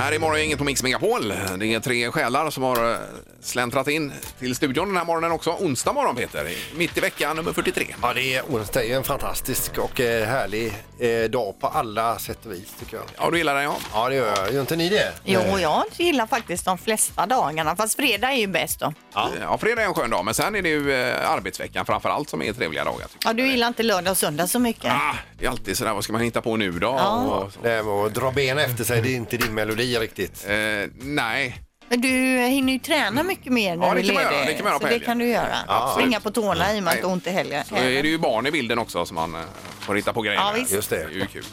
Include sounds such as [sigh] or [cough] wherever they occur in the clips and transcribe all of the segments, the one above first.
varje morgon inget på Mix Megapol. Det är tre själar som har eh, släntrat in till studion den här morgonen också. Onsdag morgon Peter, mitt i veckan nummer 43. Ja, det är onsdag. Det är en fantastisk och eh, härlig eh, dag på alla sätt och vis tycker jag. Ja, du gillar den ja. Ja, det gör jag. Gör inte ni det? Eh, Jo, jag gillar faktiskt de flesta dagarna, fast fredag är ju bäst då. Ja. fredag är en skön dag, men sen är det ju eh, arbetsveckan framför allt som är trevliga dagar. tycker Ja, du gillar inte lördag och söndag så mycket. jag. Ah, det är alltid sådär, vad ska man hitta på nu då? Och, så. Det här med att eh, dra benen efter sig, det är inte din melodi riktigt. Eh, nej, Men du hinner ju träna mycket mer när Ja, det du kan man leder. göra. Det kan man göra på så det helgen. kan du göra. Springa på tårna i och med att du har ont i helgen. så är Eh, det ju barn i bilden också som man eh, får hitta på grejer Ja, med. visst. Just Det är det. ju kul.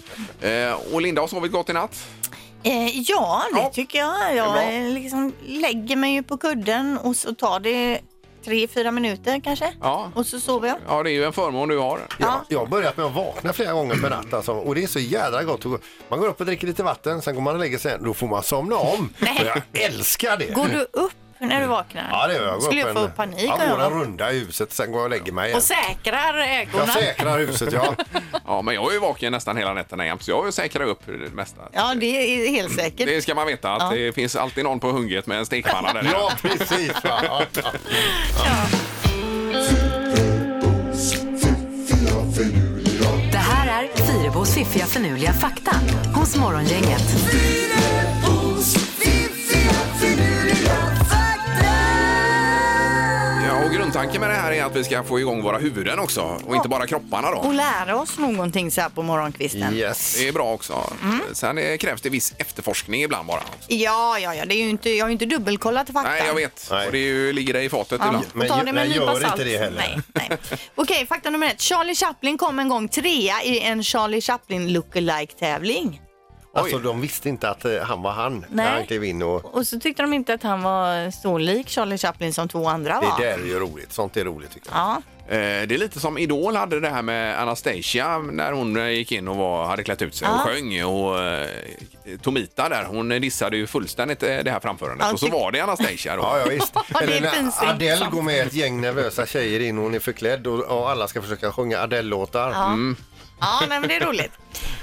Eh, och Linda har sovit gott i natt. Eh, ja, det Ja. tycker jag. bra. Jag eh, liksom lägger mig ju på kudden och så tar det tre, fyra minuter kanske. Ja. Och så sover jag. Ja, det är ju en förmån du [laughs] har. Ja, jag har börjat med att vakna flera gånger per natt alltså, och det är så jädra gott. att gå- Man går upp och dricker lite vatten, sen går man och lägger sig, då får man somna om. [laughs] Nej. Och jag älskar det! Går du upp när du vaknar? Ja, det gör jag. Går Skulle jag en- få panik Ja, om jag går en var- runda i huset, sen går jag och lägger mig igen. Och säkrar ägorna? Jag säkrar huset, [laughs] ja. Ja, men jag är ju vaken nästan hela nätterna jämt, så jag säkrar upp det mesta. Ja, det är helt säkert. Det ska man veta, att det finns alltid någon på hungret med en stekpanna där. Ja, precis. Va? Ja, ja. Det här är Fyrabos fiffiga förnuliga fakta hos Morgongänget. Ja, och grundtanken med det här är att vi ska få igång våra huvuden också och inte bara kropparna då. Och lära oss någonting så här på morgonkvisten. Yes. Det är bra också. Mm. Sen eh, krävs det viss efterforskning ibland bara. Ja, ja, ja. Det är ju inte, jag har ju inte dubbelkollat fakta. Nej, jag vet. Nej. Och det är ju, ligger dig i fatet Ja, ibland. får Men ta ju- det med nej, gör en nypa inte salt. det heller. Nej, nej. Okej, fakta nummer ett. Charlie Chaplin kom en gång trea i en Charlie Chaplin lookalike tävling. Alltså, de visste inte att eh, han var han när Nej. han klev in. Och... Och så tyckte de inte att han var så lik Charlie Chaplin som två andra Det var. där är ju roligt. Sånt är roligt tycker jag. Ja, Eh, Det är lite som Idol hade det här med Anastasia när hon eh, gick in och var, hade klätt ut sig och Ja. sjöng. Och eh, Tomita där, hon dissade ju fullständigt eh, det här framförandet. Ja, Och så tyck- var det Anastasia då. Ja, ja [laughs] visst. Det är Eller pinsamt. när Adele går med ett gäng nervösa tjejer in och hon är förklädd och, och alla ska försöka sjunga Adele-låtar. ja. Mm, ja nej, men det är roligt.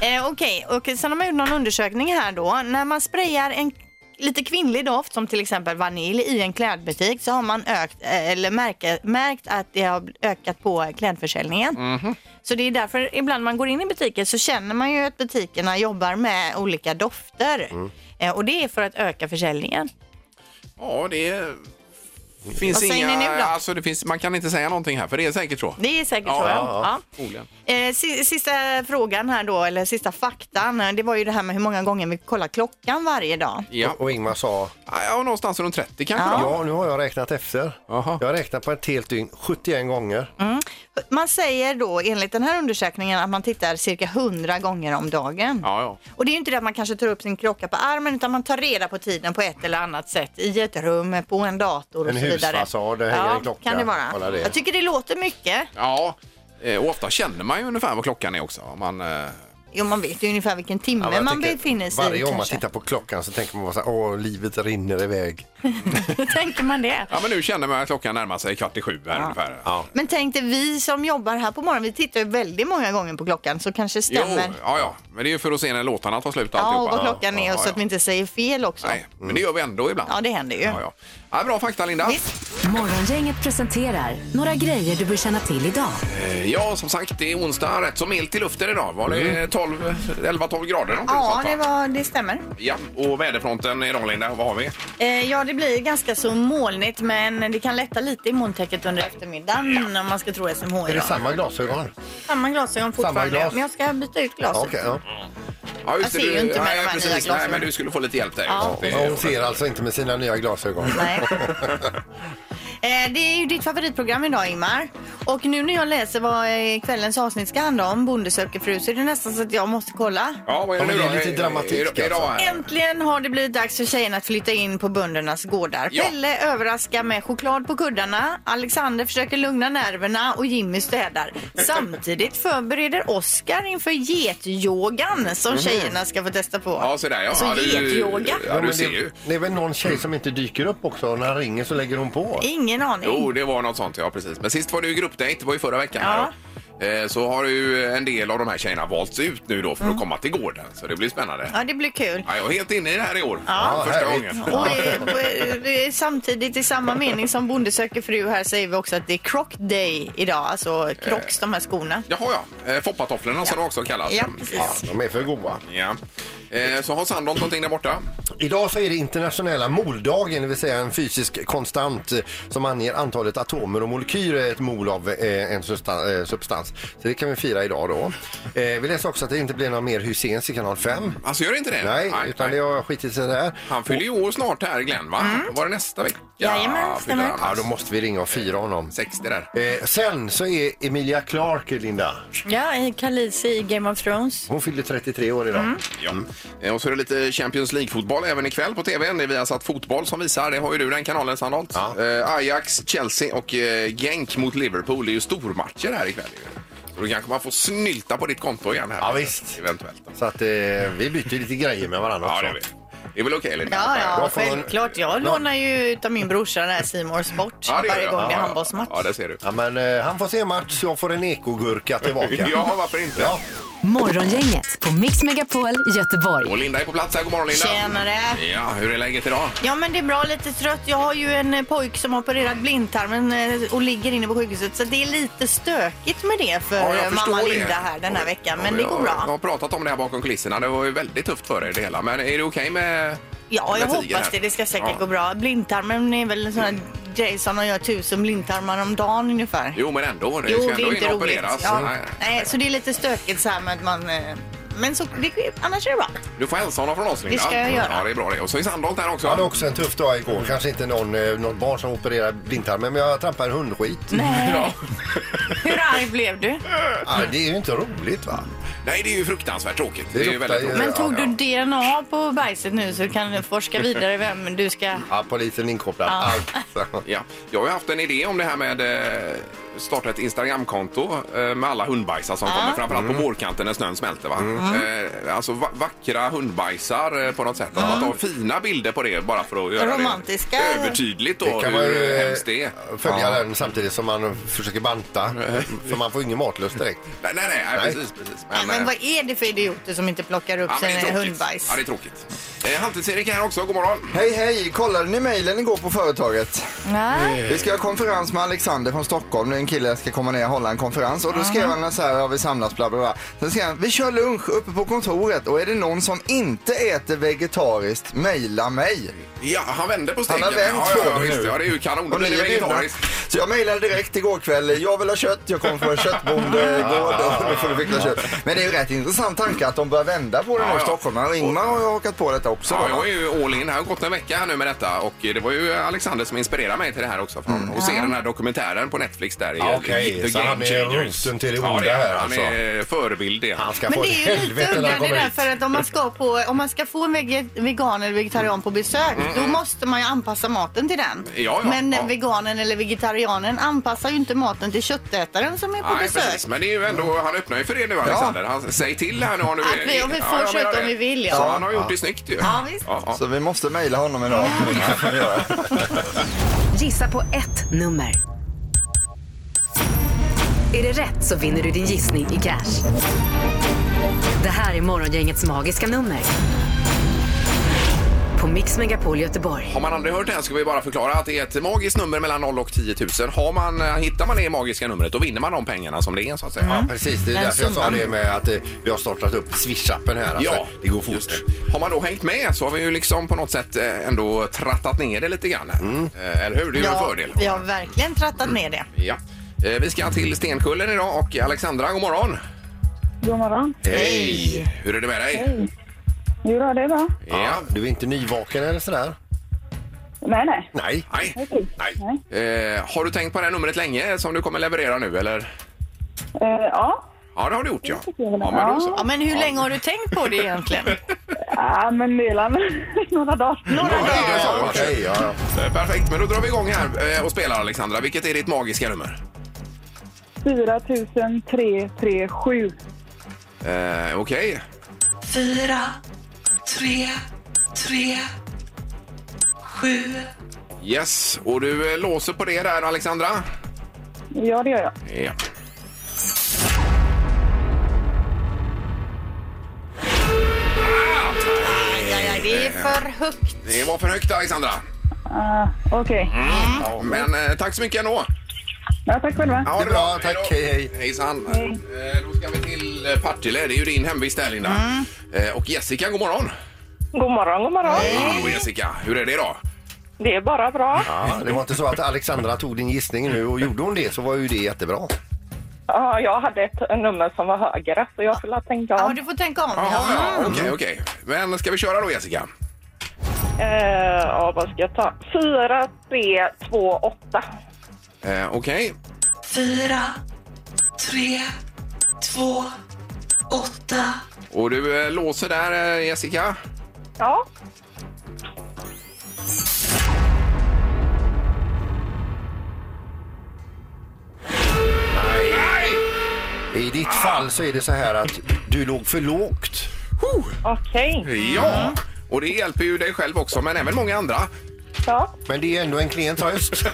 Eh, Okej, och sen har man gjort någon undersökning här då. När man sprayar en lite kvinnlig doft som till exempel vanilj i en klädbutik så har man ökt, eh, eller märke, märkt att det har ökat på klädförsäljningen. Mhm. Så det är därför ibland man går in i butiker så känner man ju att butikerna jobbar med olika dofter. Mm. Eh, Och det är för att öka försäljningen. Ja, det finns Vad säger inga... ni nu då? Alltså, det finns, man kan inte säga någonting här, för det är säkert så. Det är säkert Ja, så. Ja. ja, Ja. Troligen. Eh, si- sista frågan här då, eller sista faktan, eh, det var ju det här med hur många gånger vi kollar klockan varje dag. Ja. Och, och Ingmar sa, Ja, ja, någonstans runt 30 kanske då. ja nu har jag räknat efter. Jaha. Jag har räknat på ett helt dygn 71 gånger. Mm, Man säger då enligt den här undersökningen att man tittar cirka 100 gånger om dagen. Ja, ja. Och det är ju inte det att man kanske tar upp sin klocka på armen utan man tar reda på tiden på ett eller annat sätt i ett rum, på en dator och En så vidare. husfasad, det hänger ja, en klocka. kan det vara. Kolla det. Jag tycker det låter mycket. Ja, eh, och ofta känner man ju ungefär vad klockan är också. om Man, eh, Jo, man vet ju ungefär vilken timme Ja, men jag man tänker, befinner sig i Varje gång man kanske. tittar på klockan så tänker man bara så här, åh livet rinner iväg. [laughs] Tänker man det? ja, men nu känner man att klockan närmar sig kvart i sju här ungefär. Ja. Men tänk dig, vi som jobbar här på morgonen, vi tittar ju väldigt många gånger på klockan så kanske Jo, stämmer. ja, ja, men det är ju för att se när låtarna tar slut och ja, och alltihopa. vad klockan ja, är och så ja, att vi inte säger fel också. Nej, men det gör vi ändå ibland. Ja, det händer ju. Ja, ja. Ja, bra fakta, Linda. Visst? Morgongänget presenterar några grejer du bör känna till idag. Eh, Ja, som sagt, det är onsdag. Rätt så milt i luften idag. Var det 12, 11-12 grader? någonting Mm. Ja, sånt, va? det, var, det stämmer. Ja, och väderfronten idag, Linda, vad har vi? Eh, ja, det blir ganska så molnigt men det kan lätta lite i molntäcket under eftermiddagen om man ska tro SMH Är det idag. samma glasögon? Samma glasögon fortfarande, glas? men jag ska byta ut glaset. Okej, ja. Ja, just Jag det, ser ju inte med nej, de här precis, nya Nej, glasögonen. men du skulle få lite hjälp där. Ja. Det- Hon ser alltså inte med sina nya glasögon. [laughs] Nej. Eh, Det är ju ditt favoritprogram idag Ingmar. Och nu när jag läser vad eh, kvällens avsnitt ska handla om, Bonde söker fru, så är det nästan så att jag måste kolla. Ja, vad är Ja, det men nu det är då? lite dramatik, Är- är- är- alltså. idag här? Äntligen har det blivit dags för tjejerna att flytta in på böndernas gårdar. Ja. Pelle överraskar med choklad på kuddarna, Alexander försöker lugna nerverna och Jimmy städar. Samtidigt förbereder Oscar inför getyogan som tjejerna ska få testa på. Mhm. Ja, sådär ja. Alltså ja, getyoga. Ja, men du ser ju. det, det är väl någon tjej som inte dyker upp också och när han ringer så lägger hon på. Ingen aning. Jo, det var något sånt, ja precis. Men sist var det ju gruppdejt, det var ju förra veckan. Ja. Här, då. eh, så har ju en del av de här tjejerna valts ut nu då för att komma till gården. Så det blir spännande. Mm. Ja, det blir kul. Ja, jag är helt inne i det här i år. Ja, Första härligt. gången. Och [laughs] eh, eh, samtidigt i samma mening som Bonde söker fru här säger vi också att det är croc day idag, alltså crocs, de här skorna. Jaha, ja. Eh, Foppatofflorna som de också kallas. Ja, precis. De är för goda. Ja. Eh, så har Sandholt någonting där borta? Idag så är det internationella moldagen, det vill säga en fysisk konstant eh, som anger antalet atomer och molekyler i ett mol av eh, en substan- eh, substans. Så det kan vi fira idag då. Eh, vi läser också att det inte blir några mer Hyséns i kanal 5. Alltså gör det inte det? Nej, utan det har skitit sig där. Han fyller ju år snart här, Glenn, va? Var det nästa vecka? Mm. Jajamän, fyller stämmer. han, Ja, alltså. då måste vi ringa och fira honom. 60 där. Eh, sen så är Emilia Clarke, Linda. Ja, i Khaleesi i Game of Thrones. Hon fyllde 33 år idag. Ja. Mm. Eh, Och så är det lite Champions League-fotboll även ikväll på tvn. Det är Viasat Fotboll som visar. Det har ju du den kanalen, Sandholt. Ja. Eh, Ajax, Chelsea och eh, Genk mot Liverpool. Det är ju stormatcher här ikväll. ju. Så då kanske man får snylta på ditt konto igen här. Ja, visst. Eventuellt. Så att eh, vi byter lite grejer med varandra Ja, också. det är vi. Det är väl okej, Linda? Ja, ja, Då får hon- självklart. Jag lånar ju utav min brorsa den här C More Sport Ja, det gör varje jag. gång det är Ja, ja. handbollsmatch. Ja, det ser du. Ja, men eh, han får se match, jag får en ekogurka tillbaka. [laughs] Ja, varför inte? Ja. Morgongänget på Mix Megapol Göteborg. Och Linda är på plats här. God morgon, Linda. Tjenare! Ja, hur är läget idag? Ja men det är bra, lite trött. Jag har ju en eh, pojk som har opererat blindtarmen eh, och ligger inne på sjukhuset. Så det är lite stökigt med det för Ja, jag eh, förstår mamma det. Linda här den här veckan. Men Ja, det jag- går Jag har bra. pratat om det här bakom kulisserna. Det var ju väldigt tufft för er det hela. Men är det okej med Ja, jag med tiger hoppas här? det. Det ska säkert Ja. gå bra. Blindtarmen är väl en sån här grej som de gör tusen blindtarmar om dagen ungefär. Jo, men ändå. Det Jo, ska det ändå är inte inte roligt. opereras. Ja. Nej. Nej, så det är lite stökigt så här med att man... eh, Men så, det, annars är det bra. Du får hälsa honom från oss, Linda. Det ska jag göra. Ja, det är bra det. Och så är Sandholt här också. Jag hade också en tuff dag Mm. igår. Kanske inte någon, eh, någon barn som opererar blindtarmen, men jag trampade en hundskit. Ja. Hur arg blev du? Ah, det är ju inte roligt va? Nej, det är ju fruktansvärt tråkigt. Det Det är ju luktar väldigt ju- tråkigt. Men tog Ja, du DNA på bajset nu så du kan forska vidare vem du ska... Ja, polisen inkopplad. Ja. Alltså. Ja. Jag har ju haft en idé om det här med eh, starta ett Instagramkonto eh, med alla hundbajsar som kommer, framförallt Mm. på vårkanten när snön smälter. Va? Eh, alltså va- vackra hundbajsar eh, på något sätt. Att man tar fina bilder på det bara för att göra Romantiska. det övertydligt då Det kan man hur ju eh, hemskt det är. följa den samtidigt som man försöker [laughs] banta. För man får ingen matlust direkt. Nej, nej, nej, Nej. precis. precis. Nej, eh, men vad är det för idioter som inte plockar upp ja, men det är sina tråkigt. hundbajs? Ja, det är tråkigt. Eh, Halvtids-Erik är här också. God morgon. Hej hej! Kollade ni mejlen igår på företaget? Nej. Vi ska ha konferens med Alexander från Stockholm. Det är en kille som ska komma ner och hålla en konferens. Och då skrev han så här, har vi samlats bla bla bla. Sen skrev han, vi kör lunch uppe på kontoret och är det någon som inte äter vegetariskt, mejla mig. Ja, han vände på steken. Han har vänt ja, ja, på ja, det visst, nu. ja, det är ju kanon. Då Och blir ni det är bjudna. vegetariskt. Så jag mejlade direkt igår kväll, jag vill ha kött, jag kommer från en köttbonde [laughs] igår, då får du fickla kött. Men det är ju rätt intressant tanke att de börjar vända på det Ja, nu i ja. Stockholm. Och Ingmar har ju hakat på detta också. Ja, då, va? jag är ju all in. Jag har gått en vecka här nu med detta och det var ju Alexander som inspirerade mig till det här också. Från Och se den här dokumentären på Netflix där. i- Mm. Ja, okej. The Så Game han är Changers. roten till det Ja, onda är han. här, alltså. Han är förebild det. är han. Han ska Men få det ett är ju lite helvete när udda han det kommer där hit. för att om man ska, på, om man ska få en vege- vegan eller vegetarian på besök då måste man ju anpassa maten till den. Mm, ja, Men ja. den veganen eller vegetarianen anpassar ju inte maten till köttätaren som är på Nej, besök. precis. Men det är ju ändå, han öppnar ju för det nu Alexander. Han, säg till här nu om du Att vi- om vi får jag menar köpa om det. vi vill, ja. Så han har gjort det snyggt ju. Ja, visst. ja. Så vi måste mejla honom idag. Det [laughs] får vi göra. Gissa på ett nummer. Är det rätt så vinner du din gissning i cash. Det här är Morgongängets magiska nummer. På Mix Megapol Göteborg. Har man aldrig hört det här ska vi bara förklara att det är ett magiskt nummer mellan 0 och 10 000. Har man, eh, hittar man det magiska numret då vinner man de pengarna som det är så att säga. Mm. Ja, precis. Det är Den därför jag sa summan. det med att eh, vi har startat upp Swish-appen här. Alltså. Ja, det går fort. just det. Har man då hängt med så har vi ju liksom på något sätt eh, ändå trattat ner det lite grann. här. Eh, Eller hur? Det är ju en Ja, fördel. vi har verkligen trattat ner det. Ja. Eh, Vi ska till Stenkullen idag och Alexandra, god morgon! God morgon. Hej! Hur är det med dig? Jo då, det är bra. Ja. Du är inte nyvaken eller sådär? Nej, nej. Nej. Nej. Okej. Nej. Eh, har du tänkt på det här numret länge som du kommer leverera nu eller? Eh, ja. Ja, det har du gjort ja. tycker jag väl. Ja, men då Ja. så. Ja, men hur länge har du tänkt på det egentligen? ja, men Milan. [laughs] Några dagar. Ja, det är så. Okej, ja, ja. Eh, Perfekt, men då drar vi igång här eh, och spelar Alexandra. Vilket är ditt magiska nummer? 4 337. Eh, Okej. fyra, tre, tre, sju. Yes, och du eh, låser på det där Alexandra? Ja, det gör jag. Ja. Nej, det är för högt. Det var för högt Alexandra. Ah, Okej. Mm. Ja, Men eh, tack så mycket ändå. Ja, tack själva. Ja, Det är bra, tack. Hej då. Hej, hej. Hejsan. Eh, Då ska vi till eh, Partille. Det är ju din hemvist där Linda. Mm. Eh, Och Jessica, god morgon. God morgon, god morgon. Hallå Jessica, hur är det idag? Det är bara bra. Ja, det var inte så att Alexandra tog din gissning nu och gjorde hon det så var ju det jättebra. Ja, jag hade ett nummer som var högre, så jag skulle ha tänkt Ja, om. du får tänka om. Jaha, Ja. ja, okej, okej. Men ska vi köra då Jessica? Eh, ja, vad ska jag ta? 4, 3, 2, 8. Eh, Okej. fyra, tre, två, åtta, Och du eh, låser där eh, Jessica? Ja, I ditt fall så är det så här att du låg för lågt. okej. Ja! Och det hjälper ju dig själv också, men även många andra. Ja, Men det är ändå en klen tröst. jag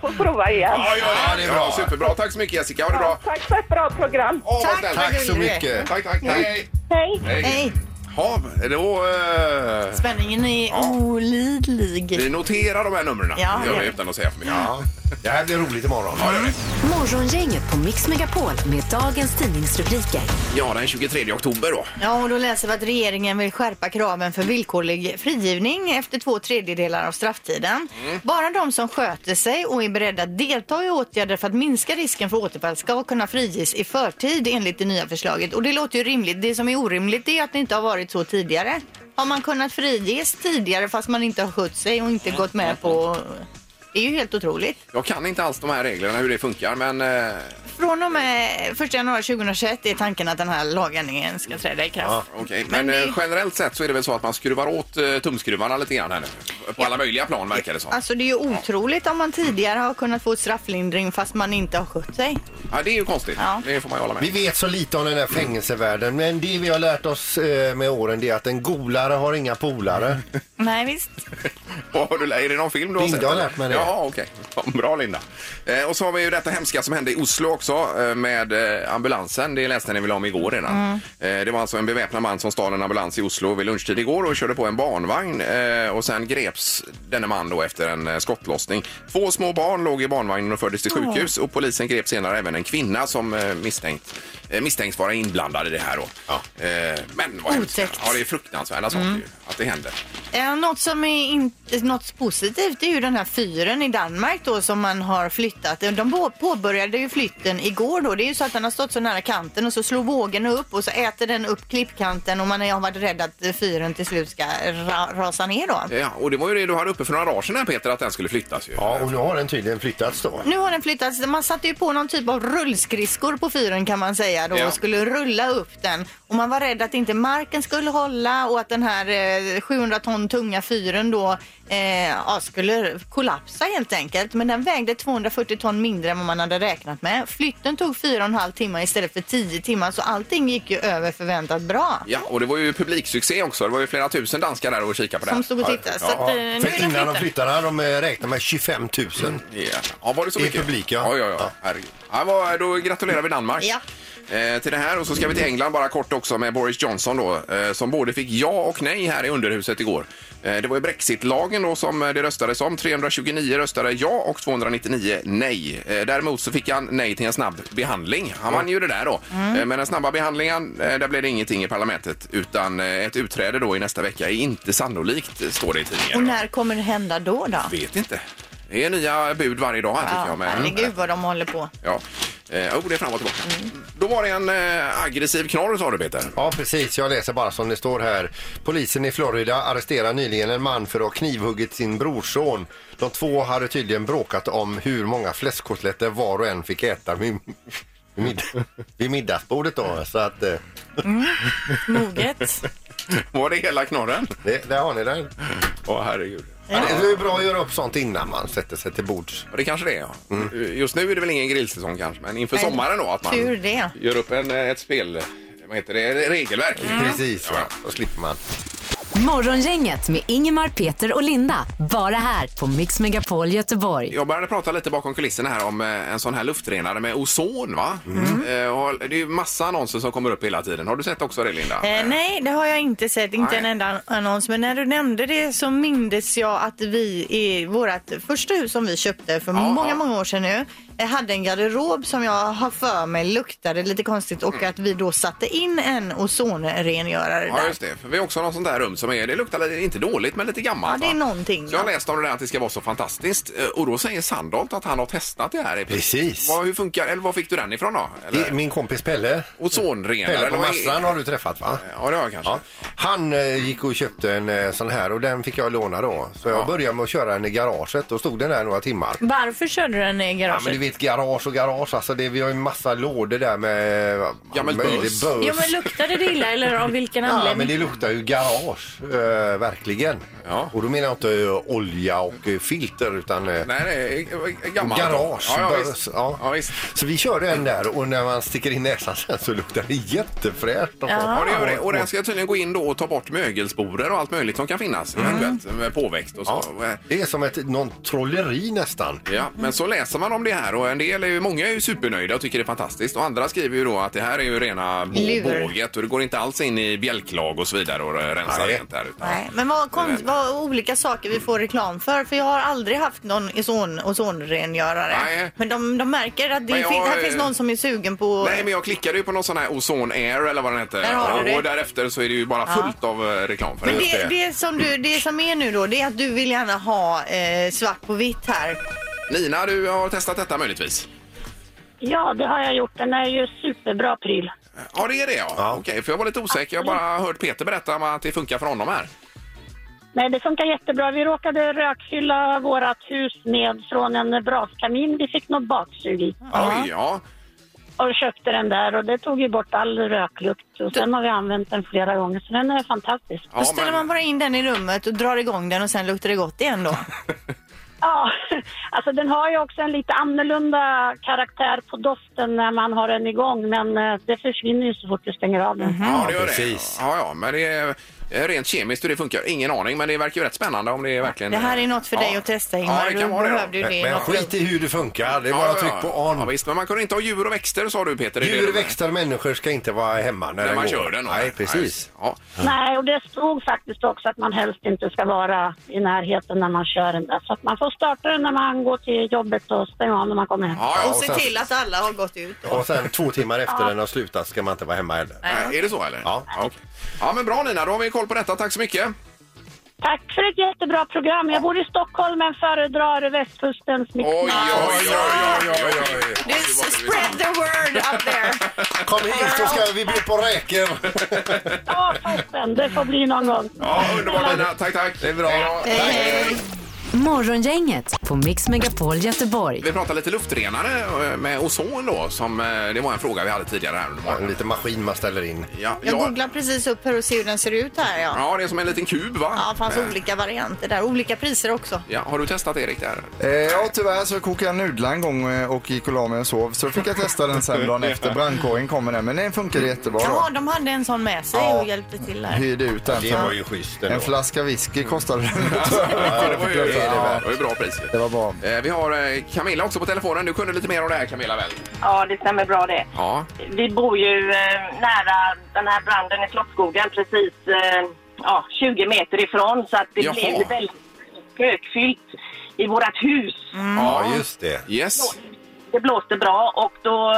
får prova igen. Ja, ja, det är bra. superbra. Tack så mycket Jessica. Ha det bra. Tack för ett bra program. Åh, vad Tack. snällt. Tack så mycket. Tack, tack. Hej. Hej. Hej. Ja, då... Eh, Spänningen är olidlig. vi noterar de här numren. Ja, gör det vi gör utan att säga för mycket. Ja, det här blir roligt imorgon. Ja, det gör vi. Morgongänget på Mix Megapol med dagens tidningsrubriker. ja, den 23 oktober då. Ja, och då läser vi att regeringen vill skärpa kraven för villkorlig frigivning efter två tredjedelar av strafftiden. Bara de som sköter sig och är beredda att delta i åtgärder för att minska risken för återfall ska kunna friges i förtid enligt det nya förslaget. Och det låter ju rimligt. Det som är orimligt är att det inte har varit så tidigare. Har man kunnat friges tidigare fast man inte har skött sig och inte gått med på... Det är ju helt otroligt. Jag kan inte alls de här reglerna, hur det funkar, men... Eh, Från och med 1 januari 2021 är tanken att den här lagändringen ska träda i kraft. okej. Men, Men det- eh, generellt sett så är det väl så att man skruvar åt eh, tumskruvarna lite grann här nu. På alla möjliga plan verkar det som. Alltså det är ju otroligt om man tidigare har kunnat få strafflindring fast man inte har skött sig. Ja, det är ju konstigt. Ja. Det får man ju hålla med. Vi vet så lite om den här fängelsevärlden men det vi har lärt oss eh, med åren det är att en golare har inga polare. Nej visst. Vad [laughs] har du lärt- Är det någon film du har Linda sett? har eller? lärt mig det. Jaha, okej. Ja, Bra Linda. Eh, och så har vi ju detta hemska som hände i Oslo också eh, med eh, ambulansen. Det läste ni väl om igår redan. Eh, det var alltså en beväpnad man som stal en ambulans i Oslo vid lunchtid igår och körde på en barnvagn. Eh, och sen greps denne man då efter en eh, skottlossning. Två små barn låg i barnvagnen och fördes till sjukhus och polisen grep senare även en kvinna som eh, misstänkt eh, misstänks vara inblandad i det här då. Eh, men vad hemskt. Otäckt. Ja, det är fruktansvärda saker ju, att det händer. Eh, något som är in, något positivt är ju den här fyren i Danmark då som man har flyttat. Eh, De på- påbörjade ju flytten igår då. Det är ju så att den har stått så nära kanten och så slår vågen upp och så äter den upp klippkanten och man har varit rädd att eh, fyren till slut ska ra, rasa ner då. Ja, och det var ju det du hade uppe för några dagar sedan här, Peter, att den skulle flyttas ju. Ja, och nu har den tydligen flyttats då. Nu har den flyttats. Man satte ju på någon typ av rullskridskor på fyren kan man säga då Ja. och skulle rulla upp den. Och man var rädd att inte marken skulle hålla och att den här eh, 700 ton tunga fyren då eh, ja, skulle kollapsa helt enkelt. Men den vägde 240 ton mindre än vad man hade räknat med. Flytten tog fyra och en halv timme istället för 10 timmar så allting gick ju över förväntat bra. Ja, och det var ju publiksuccé också. Det var ju flera tusen danskar där och kikade på det. Som stod och tittade. Så att, eh, nu är den För innan flyttad. de flyttade hade de eh, räknat med 25 000. Ja. ja, var det så I mycket? publik, ja. Ja, ja, ja. Ja. Herregud. ja vad- då gratulerar vi Danmark. Ja. Eh, till det här och så ska vi till England bara kort också med Boris Johnson då eh, som både fick ja och nej här i underhuset igår. Eh, det var ju Brexitlagen då som eh, det röstades om. 329 röstade ja och 299 nej. Eh, däremot så fick han nej till en snabb behandling. Han vann ju det där då. Eh, men den snabba behandlingen, eh, där blev det ingenting i parlamentet utan eh, ett utträde då i nästa vecka är inte sannolikt eh, står det i tidningen. Och när kommer det hända då då? Vet inte. Det är nya bud varje dag här tycker Ja, jag. med- herregud Mm. vad de håller på. Ja. Eh, oh, det är fram och tillbaka. Då var det en eh, aggressiv knorr sa du Peter. [laughs] Ja, precis. Jag läser bara som det står här. Polisen i Florida arresterar nyligen en man för att ha knivhuggit sin brorson. De två hade tydligen bråkat om hur många fläskkotletter var och en fick äta vid, vid, mid, vid middagsbordet. Då. Så att, eh, Moget. Var det hela knorren? det, där har ni den. Åh herregud. Ja. Det är ju bra att göra upp sånt innan man sätter sig till bords. Ja, Det kanske det är ja. Eh, Just nu är det väl ingen grillsäsong kanske men inför Nej, sommaren då att man tur det. eh, gör upp en, eh, ett spel, vad heter det, regelverk. Precis, va? då slipper man. Morgongänget med Ingemar, Peter och Linda. Bara här på Mix Megapol Göteborg. Jag började prata lite bakom kulisserna här om eh, en sån här luftrenare med ozon va? Mm. Eh, och det är ju massa annonser som kommer upp hela tiden. Har du sett också det Linda? Eh, nej, det har jag inte sett. Inte Nej. en enda annons. Men när du nämnde det så mindes jag att vi i vårt första hus som vi köpte för Ja, många, ja. många år sedan nu eh, hade en garderob som jag har för mig luktade lite konstigt och att vi då satte in en ozonrengörare Mm. Ja, där. just det. För vi har också något sånt där rum som är, det luktar lite, inte dåligt men lite Ja, gammalt. det är va? någonting. Så jag har ja. läst om det där att det ska vara så fantastiskt. Eh, Och då säger Sandholt att han har testat det här. i princip. Precis. Vad, hur funkar, eller var fick du den ifrån då? Det Eller, är Min kompis Pelle. ozonrenare? Pelle eller på vad är- Marstrand har du träffat va? Ja, det har jag kanske. Ja. Han eh, gick och köpte en eh, sån här och den fick jag låna då. Så jag började med att köra den i garaget och stod den där några timmar. Varför körde du den i Ja, garaget? men du vet garage och garage alltså. Det, vi har ju en massa lådor där med... eh, Gammalt möjlig buss. buss. Ja, men luktade det illa eller av vilken Ja, men anledning? det luktar ju garage, eh, verkligen. Ja. Och då menar jag inte eh, olja och eh, filter utan eh, Nej, det är eh, gammalt. garage. Ja, ja, börs, visst. ja. Ja, visst. Så vi körde en där och när man sticker in näsan [laughs] sen så luktar det jättefräscht. Ja, det gör det. Och den ska tydligen gå in då och ta bort mögelsporer och allt möjligt som kan finnas. Eventuellt med påväxt och eh, så. Mm. Ja, det är som ett, någon trolleri nästan. Ja, men så läser man om det här och en del är ju, många är ju supernöjda och tycker det är fantastiskt och andra skriver ju då att det här är ju rena bå- Lur. båget och det går inte alls in i bjälklag och så vidare och rensa Nej. rent där. Utan. Nej, men vad, konst, vad olika saker vi får reklam för. För jag har aldrig haft någon ozon, ozonrengörare. Nej. Men de, de märker att det Men jag, fin, här eh, finns någon som är sugen på... Nej, men jag klickade ju på någon sån här Ozone Air eller vad den hette. Där har du och, det. och därefter så är det ju bara fullt av eh, reklam för Men det. det, det, som du, det som är nu då, det är att du vill gärna ha eh, svart på vitt här. Lina, du har testat detta möjligtvis? Ja, det har jag gjort. Den är ju superbra pryl. Ja, det är det ja. Ja. Okej, för jag var lite osäker. Jag har bara hört Peter berätta om att det funkar för honom här. Nej, det funkar jättebra. Vi råkade rökfylla vårt hus med från en braskamin. Vi fick något baksug i Ja. Oj, ja. och köpte den där och det tog ju bort all röklukt. Och sen har vi använt den flera gånger, så den är fantastisk. ja då ställer men- man bara in den i rummet och drar igång den och sen luktar det gott igen då. Ja, [laughs] alltså den har ju också en lite annorlunda karaktär på doften när man har den igång, men eh, det försvinner ju så fort du stänger av den. Ja, det gör precis. det. Ja, ja, men det är eh, rent kemiskt hur det funkar. Ingen aning, men det verkar ju rätt spännande om det är verkligen... Det här är något för dig Ja. att testa Ja, Ingmar. det du kan vara det. behövde då. ju det. i Men något skit i hur det funkar. Det är Ja, bara ja, tryck ja. på Ja, on. visst, men man kunde inte ha djur och växter sa du Peter. Är det Djur, det? växter och människor ska inte vara hemma när, När det man går. kör den. och- Nej, precis. Ja. Nej, och det stod faktiskt också att man helst inte ska vara i närheten när man kör den där. Så att man får starta den när man går till jobbet och stänga av när man kommer hem. Ja, ja. Och se sen- till att alla har gått ut då. Och sen två timmar efter den har slutat ska man inte vara hemma heller. Nej, Är det så eller? Ja. okej. ja, men bra Nina, då har vi koll på detta. Tack så mycket. Tack för ett jättebra program. Jag bor i Stockholm men föredrar västkustens mix. Oj, oj, oj, oj, oj, oj. Du spread the word up there. Kom hit så ska vi bli på räkor. Ja, toppen. Det får bli någon gång. Ja, underbart Nina. Tack, [laughs] tack. Det är bra. Hej, hej. Morgongänget på Mix Megapol Göteborg. Vi pratar lite luftrenare eh, med ozon då, som eh, det var en fråga vi hade tidigare här under En morgonen. liten maskin man ställer in. Ja, Jag ja, googlar precis upp här och ser hur den ser ut här. Ja, ja, det är som en liten kub va? ja det fanns Eh, olika varianter där. Olika priser också. Ja, har du testat Erik där? Eh, ja, tyvärr så kokade jag nudlar en gång eh, och gick och la mig och sov. Så då fick jag testa den sen [laughs] dagen efter. Brandkåren kom med den, men den funkade jättebra då. Jaha, de hade en sån med sig Ja. och hjälpte till där. Hyrde ut den. Det för- var ju schysst En ändå. flaska whisky kostade den. [laughs] Ja, det var ju, det var- det var ju bra pris. Det var bra. Eh, Vi har eh, Camilla också på telefonen. Du kunde lite mer om det här Camilla väl? Ja, det stämmer bra det. Ja. Vi bor ju eh, nära den här branden i Slottsskogen, precis eh, ja, 20 meter ifrån. Så att det Jaha. blev väldigt spökfyllt i vårt hus. Ja, just det. Yes. Det blåste bra och då,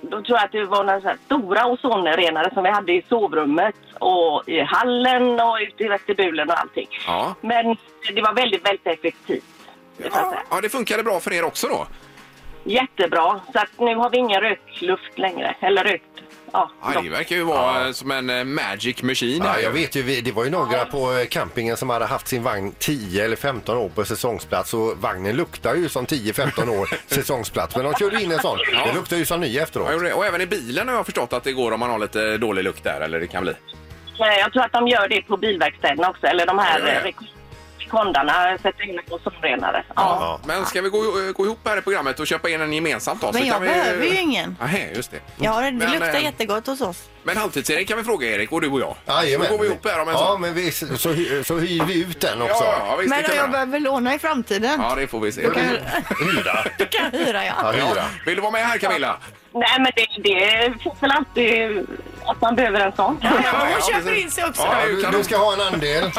då tror jag att det var några så här stora ozonrenare som vi hade i sovrummet och i hallen och ute i vestibulen och allting. Ja. Men det var väldigt, väldigt effektivt. det får jag säga. ja, det funkade bra för er också då? Jättebra. Så att nu har vi ingen rökluft längre. Eller rökt. Ja, Ja, det verkar ju vara eh, som en eh, magic machine. Ja, här. jag vet ju, vi- det var ju några på eh, campingen som hade haft sin vagn 10 eller 15 år på säsongsplats och vagnen luktar ju som 10-15 [laughs] år säsongsplats. Men de körde in en sån. Det luktar ju som ny Ja, efteråt. gjorde det. Och även i bilen har jag förstått att det går om man har lite dålig lukt där, eller det kan bli. Eh, Jag tror att de gör det på bilverkstäderna också, eller de här Ja, ja, ja. eh, rek- kondarna, sätta in en ozonrenare. Ja. Ja. Men ska vi gå, gå ihop här i programmet och köpa in en gemensamt då? Men jag kan vi... behöver ju ingen. Nej, just det. Jag har, det Men, luktar eh, jättegott hos oss. Men halvtids-Erik kan vi fråga Erik och du och jag. Jajamän. Så går vi ihop här om en Ja, stund. men vi, så, så, hy- så hyr vi ut den också. Ja, ja, visst, Men det kan jag vi göra. behöver låna i framtiden. Ja, det får vi se. Hyra. Du kan hyra ja. Ja, hyra. Vill du vara med här Camilla? Nej, men det, det finns väl alltid att man behöver en sån. [laughs] Ja, hon köper precis. in sig också. Ja, det är ju Du, kanon. du ska ha en andel.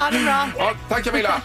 Ja, det är bra. Ja, tack Camilla!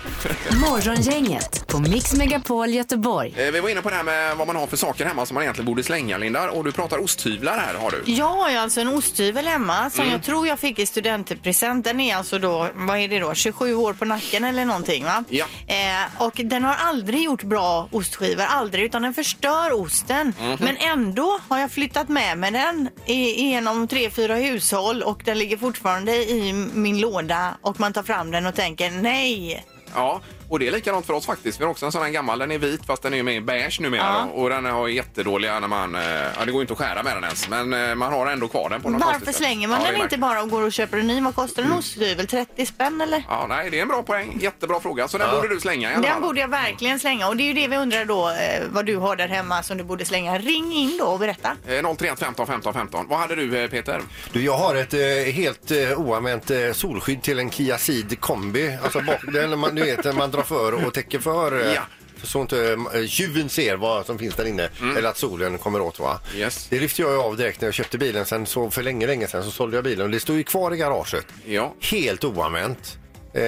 Morgongänget på Mix Megapol Göteborg. Eh, Vi var inne på det här med vad man har för saker hemma som man egentligen borde slänga, Linda. Och du pratar osthyvlar här, har du. Jag har ju alltså en osthyvel hemma som Mm. jag tror jag fick i studentpresent. Den är alltså då, vad är det då, 27 år på nacken eller någonting va? Ja. Eh, och den har aldrig gjort bra ostskivor, aldrig, utan den förstör osten. Mhm. Men ändå har jag flyttat med mig den i, genom tre, fyra hushåll och den ligger fortfarande i min låda och man tar fram den och tänker nej. Ja, och det är likadant för oss faktiskt. Vi har också en sån här gammal, den är vit fast den är ju med i beige numera. Ja. då. Och den har ju jättedåliga när man, eh, ja det går ju inte att skära med den ens. Men eh, man har ändå kvar den på något Varför konstigt sätt. slänger man Ja, Mm. det den är inte märkligt. bara och går och köper en ny? Vad kostar en osthyvel? 30 spänn eller? Ja, nej, det är en bra poäng. Jättebra fråga. Så den borde du slänga i alla Den fall. borde jag verkligen slänga och det är ju det vi undrar då eh, vad du har där hemma som du borde slänga. Ring in då och berätta. Eh, 031 15 15 15. Vad hade du eh, Peter? Du, jag har ett eh, helt eh, oanvänt eh, solskydd till en Kia Ceed kombi. Alltså bak, den, man, du vet, man drar för och täcker för. Eh, Ja. Så inte eh, tjuven ser vad som finns där inne eller att solen kommer åt. Va? Mm. Yes. Det lyfte jag ju av direkt när jag köpte bilen. Sen så för länge, länge sedan så sålde jag bilen och det stod ju kvar i garaget. Ja. Helt oanvänt. Eh,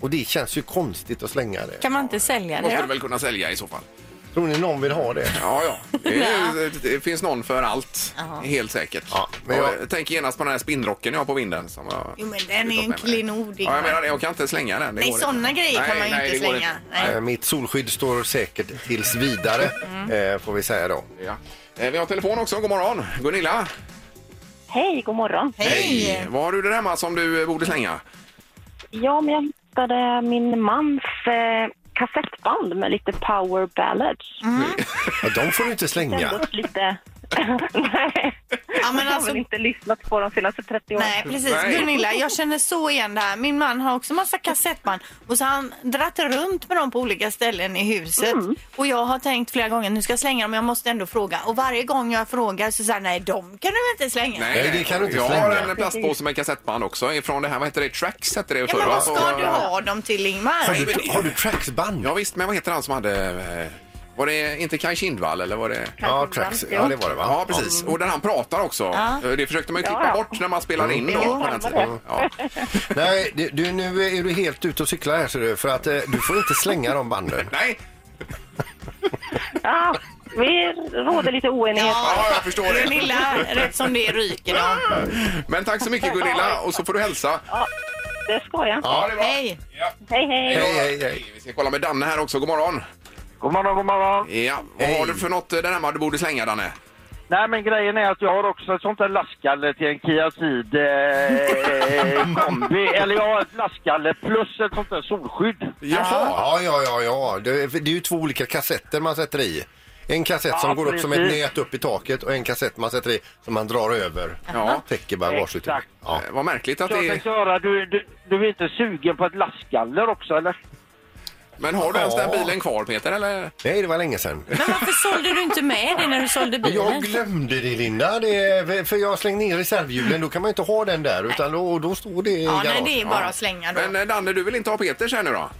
och det känns ju konstigt att slänga det. Kan man inte sälja Måste det? du väl kunna sälja i så fall? Tror ni någon vill ha det? Ja, ja. Det, är, ju- det finns någon för allt. Helt säkert. Ja, men Och jag- jag tänker genast på den här spinnrocken jag har på vinden. Som jag Jo, men den är ju en fått med mig. klenod, Ja, Ingmar. jag menar det. Jag kan inte slänga den. Det Nej, går inte. sådana grejer kan Nej, man ju nej, inte det går slänga. Nej. Eh, mitt solskydd står säkert tills vidare eh, får vi säga då. Ja. Eh, Vi har telefon också. God morgon. Gunilla. Hej, god morgon. Hej! Vad har du där hemma som du eh, borde slänga? Ja, men jag hittade min mans eh, kassettband med lite power ballads. Mm. Ja, de får du inte Det har slänga. gått lite... [laughs] Nej, Ja, men jag har alltså- väl inte lyssnat på de senaste 30 åren. Nej precis, Nej. Gunilla jag känner så igen det här. Min man har också massa kassettband och så har han dratt runt med dem på olika ställen i huset. Mm. Och jag har tänkt flera gånger nu ska jag slänga dem jag måste ändå fråga. Och varje gång jag frågar så säger han, nej de kan du väl inte slänga? Nej, det kan du inte jag slänga. har en plastpåse med kassettband också. Från det här, vad heter det? Trax hette det Ja, förr, men va? vad ska Och- du ha dem till Ingmar? Har du, har du tracksband? Ja, visst, men vad heter han som hade... eh, Var det inte Kaj Kindvall eller var det... Ja, tracks. Ja, det var det va? Ja, precis. Och där han pratar också. Eh, Det försökte man ju klippa Ja, ja. bort när man spelade in då. Jo, på den det tiden. Ja. Nej, du- du, nu är du helt ute och cyklar här ser du. För att eh, du får inte slänga de banden. Nej, Ja, vi råder lite oenighet. ja, jag förstår det. Gunilla, rätt som det är ryker de. Men tack så mycket Gunilla och så får du hälsa. Det ska jag. Ja, det är bra. Hej! Ja. Hej, hej. Hej, hej, hej. Vi ska kolla med Danne här också. God morgon. God morgon, god morgon. Ja, vad har du för något eh, där hemma du borde slänga Danne? Nej, men grejen är att jag har också ett sånt där lastgaller till en Kia Ceed eh, kombi. Eller jag har ett lastgaller plus ett sånt där solskydd. Jaha. Ja, ja, ja, ja. Det, det är ju två olika kassetter man sätter i. En kassett som Ja, går upp som ett precis. nät upp i taket och en kassett man sätter i som man drar över. Ja. Täcker bagageutrymme. Exakt. Ja. Eh, Vad märkligt att Så jag det är... tänkte höra, du, du, du är inte sugen på ett lastgaller också eller? Men har du ens den Ja. bilen kvar Peter eller? Nej, det var länge sedan. Men varför sålde du inte med det när du sålde bilen? Jag glömde det Linda, det, för jag slängde in reservhjulen. Då kan man inte ha den där utan då, då står det i Ja, nej, garaget. det är bara att slänga då. Men eh, Danne, du vill inte ha Peters här nu då?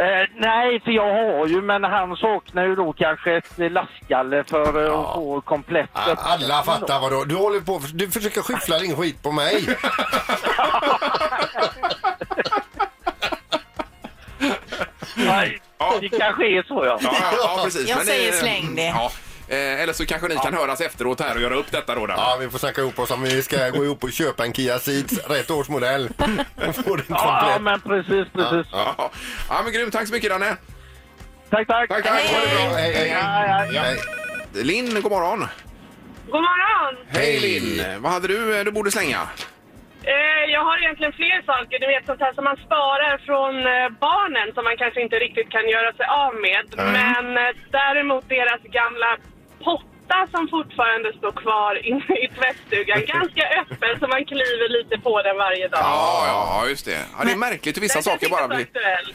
Eh, nej, för jag har ju, men han saknar ju då kanske ett eh, lastgaller för eh, att få komplett. Ah, Alla fattar vad du... Du håller på... Du försöker skyffla din skit på mig. Nej, det kanske är så ja. Ja, ja, ja precis. Jag Men säger släng det. Ja. Eh, Eller så kanske ni kan höras efteråt här och göra upp detta då. Danne. Ja, vi får snacka ihop oss om vi ska gå ihop och köpa en Kia Ceed, rätt årsmodell. Och få den Ja, komplett. men precis, precis. Ja. ja, men grymt. Tack så mycket Danne. Tack, tack. Tack, tack. Ha det bra. Hej, hej, hej. Hej, hej. Hej. Linn, god morgon. God morgon! Hej Hej. Linn. Vad hade du eh, du borde slänga? Eh, jag har egentligen fler saker. Du vet sånt här som man sparar från eh, barnen som man kanske inte riktigt kan göra sig av med. Men eh, däremot deras gamla pop matta som fortfarande står kvar inne i [laughs] tvättstugan. Ganska öppen så man kliver lite på den varje dag. Ja, ja, just det. Ja, det är märkligt hur vissa saker bara blir,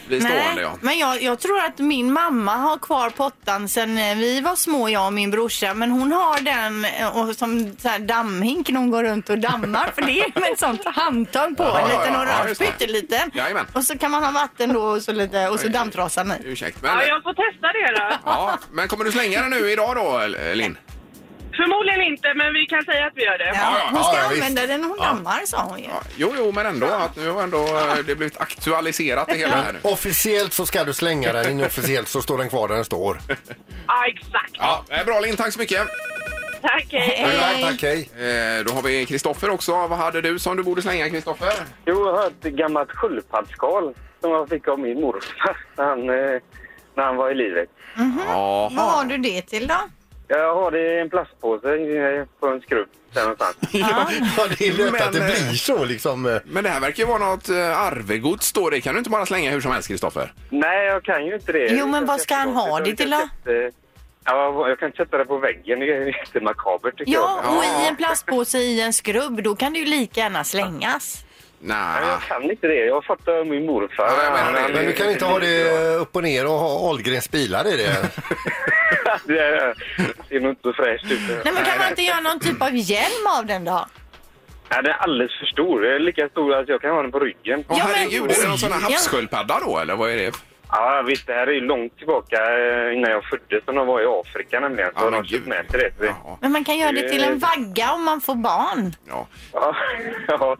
blir stående. Ja. men jag, jag tror att min mamma har kvar pottan sen eh, vi var små, jag och min brorsa. Men hon har den eh, och som så här dammhink när hon går runt och dammar. för det är med ett sånt handtag på, Ja, en ja, liten ja, orange just det. pytteliten. Jajamän. Och så kan man ha vatten då och så, lite, och så dammtrasan i. Ursäkta, men, ja, får testa det då. men kommer du slänga den nu idag då, eh, Linn? Förmodligen inte, men vi kan säga att vi gör det. Hon ska ja, visst. använda den när hon dammar, sa hon ju. Jo, jo, men ändå att nu har ändå eh, det blivit aktualiserat det hela här nu. Officiellt så ska du slänga den, inofficiellt så står den kvar där den står. Ja, exakt. Ja, eh, bra Linn, tack så mycket. Tack, Tack, tack, hej. Eh, Då har vi Kristoffer också. Vad hade du som du borde slänga, Kristoffer? Jo, jag har ett gammalt sköldpaddsskal som jag fick av min morfar [laughs] när han, eh, när han var i livet. Mm. Ja. Vad har du det till då? Jag har det i en plastpåse eh, på en skrubb där någonstans. Ja, det är lätt att det Men, eh, blir så liksom. Men det här verkar ju vara något eh, arvegods då. Det kan du inte bara slänga hur som helst, Kristoffer. Nej, jag kan ju inte det. Jo, men vad ska han ha det till då? Eh, Ja, jag kan sätta det på väggen. Det är jättemakabert tycker Ja, jag. och i en plastpåse i en skrubb, då kan det ju lika gärna slängas. Nej. Jag kan inte det. Jag fattar av min morfar. Han- han- Men du kan inte ha det upp och ner och ha Ahlgrens bilar i det. [laughs] det ser nog inte så fräscht ut. Nej, men kan man inte göra någon typ av hjälm av den då? Nej, den är alldeles för stor. Den är lika stor att jag kan ha den på ryggen. Åh herregud, är det någon sån här Ja. havssköldpadda då, eller vad är det? Ja, visst. Det här är ju långt tillbaka eh, innan jag föddes som de var i Afrika nämligen. Så Ja, ja, men de köpt med sig det. Ja, Men man kan göra det Eh. till en vagga om man får barn. ja.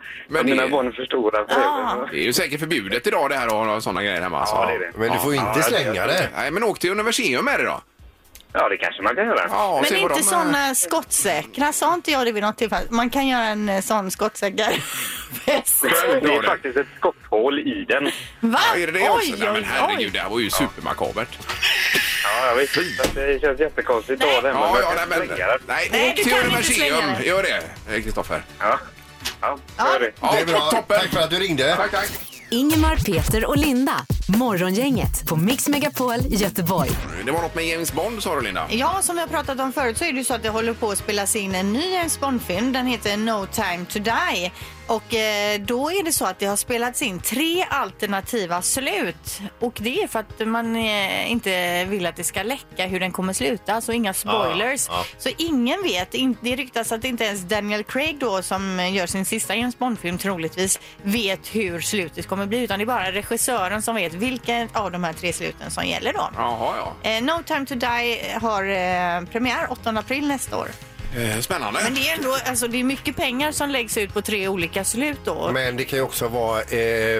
[laughs] Men mina barn är för stora för Ja. Det är ju säkert förbjudet idag det här att ha sådana grejer hemma. alltså. det är det. Men du får inte slänga det. Nej, men åk till universium med det då. Ja, det kanske man kan göra. Ja, Men se vad inte de, eh, såna skottsäkra, sa inte jag det vid något tillfälle? Man kan göra en eh, sån [laughs] skottsäker väst. [laughs] det. Det är faktiskt ett skotthål i den. Va? Ja, är det det också? Nej, men herregud, det här var ju supermakabert. Ja, jag vet. Så att Det känns jättekonstigt att ha den. Ja, jag ja, kan nej, men- slänga den. Nej, Nej, åk du till kan inte slänga universium. det. Gör det, eh, Kristoffer. Ja. Ja, gör det. Ja, Det är bra. Toppen. Tack för att du ringde. Tack, tack. Ingemar, Peter och Linda. Morgongänget på Mix Megapol Göteborg. Det var något med James Bond, sa du, Linda. Ja, som vi har pratat om förut så är det ju så att det håller på att spelas in en ny James Bond-film. Den heter No time to die. Och eh, då är det så att det har spelats in tre alternativa slut. Och det är för att man eh, inte vill att det ska läcka hur den kommer sluta, så inga spoilers. Ja, ja. Så ingen vet. In- Det ryktas att inte ens Daniel Craig då som gör sin sista James Bond-film troligtvis vet hur slutet kommer bli. Utan det är bara regissören som vet vilken av de här tre sluten som gäller då. Jaha, ja. Eh, no time to die har eh, premiär 8 april nästa år. Eh, Spännande. Men det är ändå alltså, det är mycket pengar som läggs ut på tre olika slut då. Men det kan ju också vara eh,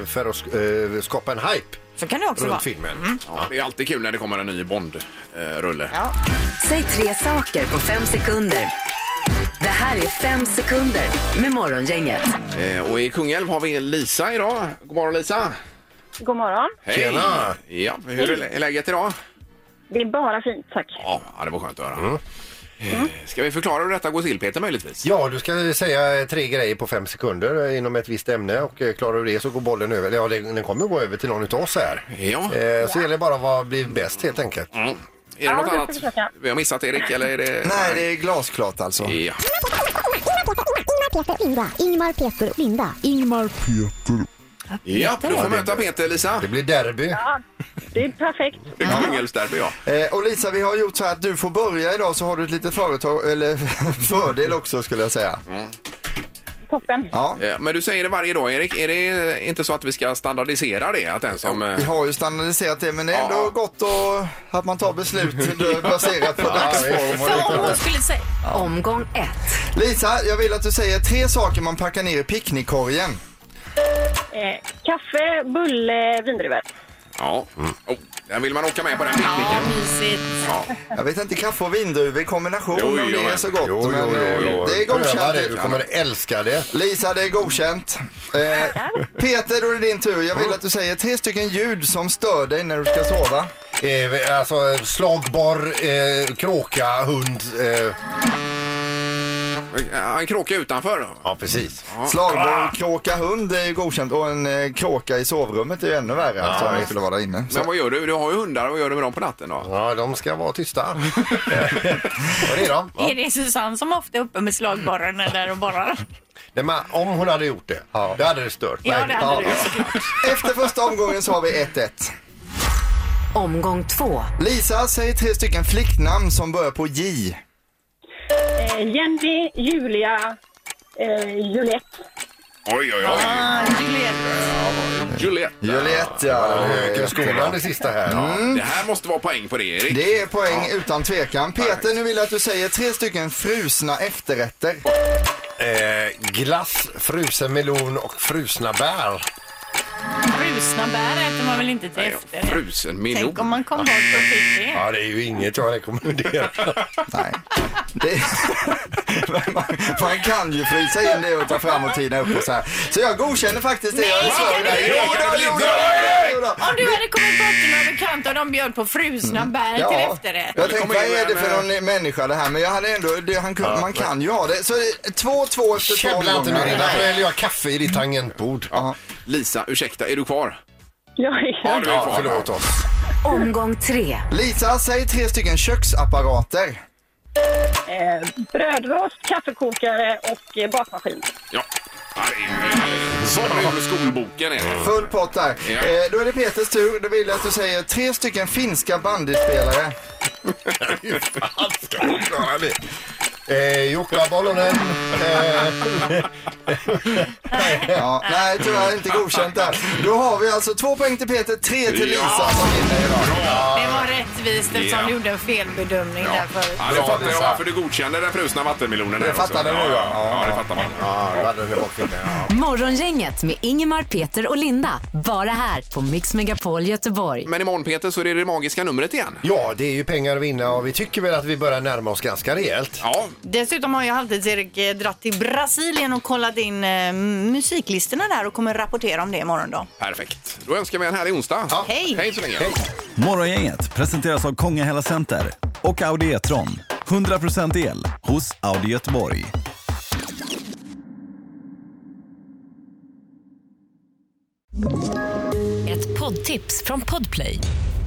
för att sk- eh, skapa en hype. Så kan det också runt vara. filmen. Ja, det är alltid kul när det kommer en ny eh, Bond-rulle. Säg tre saker på fem sekunder. Det här är fem sekunder med Morgongänget. Eh, och i Kungälv har vi Lisa idag. God morgon Lisa! God morgon. Hej! Tjena. Ja, hur är lä- är läget idag? Det är bara fint, tack. Ja, det var skönt att höra. Eh, Ska vi förklara hur detta går till Peter möjligtvis? Ja, du ska säga tre grejer på fem sekunder eh, inom ett visst ämne och eh, klarar du det så går bollen över. Ja, den den kommer gå över till någon av oss här. Ja. Mm. Eh, så gäller det bara vad blir bäst helt enkelt. Är det något jag ska annat försöka. vi har missat Erik eller är det... Nej, det är glasklart alltså. Ja. Ingmar, Peter, Linda. Ingmar, Peter, Linda. Ingmar, Peter. ja, du får möta Peter Lisa. Det blir derby. Det är perfekt. Det är Kungälvsderby ja. Eh, och Lisa, vi har gjort så här att du får börja idag så har du ett litet företag, eller [laughs] fördel också skulle jag säga. Mm. Toppen. Ja. Eh, Men du säger det varje dag Erik, är det inte så att vi ska standardisera det? Att den som... eh, Vi har ju standardiserat det men det är ändå gott att, att man tar [laughs] beslut baserat på Ja, dagsform. och För om liknande. hon skulle säga... Omgång ett. Lisa, jag vill att du säger tre saker man packar ner i picknickkorgen. Eh, kaffe, bulle, vindruvor. Ja. Oh, den vill man åka med på den Ja, picknicken. mysigt. Jag vet inte, kaffe och vindruvor i kombination Jo, om jo, det är men- så gott. Jo, men, jo, jo, eh, jo. Det är Pröva godkänt. det. Du kommer älska det. Lisa, det är godkänt. Eh, Peter, då är det din tur. Jag vill att du säger tre stycken ljud som stör dig när du ska sova. Eh, alltså slagborr, eh, kråka, hund. Eh. Han kråkade utanför. Ja, Ah. precis. Slagboll, kråka hund är ju godkänt och en eh, kråka i sovrummet är ju ännu värre. alltså, om det skulle vara där inne. Så. Men vad gör du? Du har ju hundar. Vad gör du med dem på natten då? Ja, de ska vara [laughs] tysta. Vad är det då? Är det Susanne som ofta är uppe med slagborren eller och borrar? Nej, men om hon hade gjort det, då hade det stört Ja, mig. det hade du. Efter första omgången så har vi 1-1. Omgång två. Lisa, säg tre stycken flicknamn som börjar på J. Eh, Jenny, Julia, eh, Juliette. Oj, oj, oj. Juliette. Juliette, ja. Högskolan det sista här. Mm. Det här måste vara poäng på det, Erik. Det är poäng utan tvekan. Peter, nu vill jag att du säger tre stycken frusna efterrätter. Eh, glass, frusen melon och frusna bär. Frusna bär äter man väl inte till efter? Frusen Tänk om man kom bort och fick det. Ja, det är ju inget jag [laughs] rekommenderar. Nej. Det... [laughs] Men man, man kan ju frysa in det och ta fram och tina upp och så här. Så jag godkänner faktiskt det. Jag är Nej, svag kan där. du- Jo då, jo då, jo då. Om du hade kommit bort till någon bekant och de bjöd på frusna bär till efterrätt. Mm. Jag tänkte, vad är det för någon människa det här? Men jag hade ändå, det, han, kunde- man kan ju ha det. Så 2-2 efter två Käbbla inte nu, omgångar. innan häller jag kaffe i ditt tangentbord. Ja. Lisa, ursäkta, är du kvar? Jag Ja, du är Ja, kvar. förlåt oss. Omgång tre. Lisa, säg tre stycken köksapparater. Eh, brödrost, kaffekokare och eh, bakmaskin. Ja. Ja, det är- Som ur skolboken är det. Full pott där. Ja. Eh, då är det Peters tur. Då vill jag att du säger tre stycken finska bandyspelare. Hur fan ska du klara det? Eh, Jukka Bolonen. Eh, Ja, nej, tyvärr inte godkänt där. Då har vi alltså två poäng till Peter, tre till Lisa som vinner idag. Det var rättvist eftersom Ja. du gjorde en felbedömning där förut. Ja, jag fattar ju varför du godkände den frusna vattenmelonen. Det här också. fattar du nu, ja. ja. Ja, det fattar man. ja, du hade den i bakfickan, ja. Morgongänget med Ingemar, Peter och Linda. Bara här på Mix Megapol Göteborg. Men imorgon Peter så är det det magiska numret igen. ja, det är ju pengar att vinna och vi tycker väl att vi börjar närma oss ganska rejält. Ja, Dessutom har ju Halvtids-Erik eh, dratt till Brasilien och kollat in eh, musiklistorna där och kommer rapportera om det imorgon då. perfekt. Då önskar vi en härlig onsdag. Hej! Hej så länge. Morgongänget presenteras av Kongahälla Center och Audi E-tron. 100% el hos Audi Göteborg. Ett poddtips från Podplay.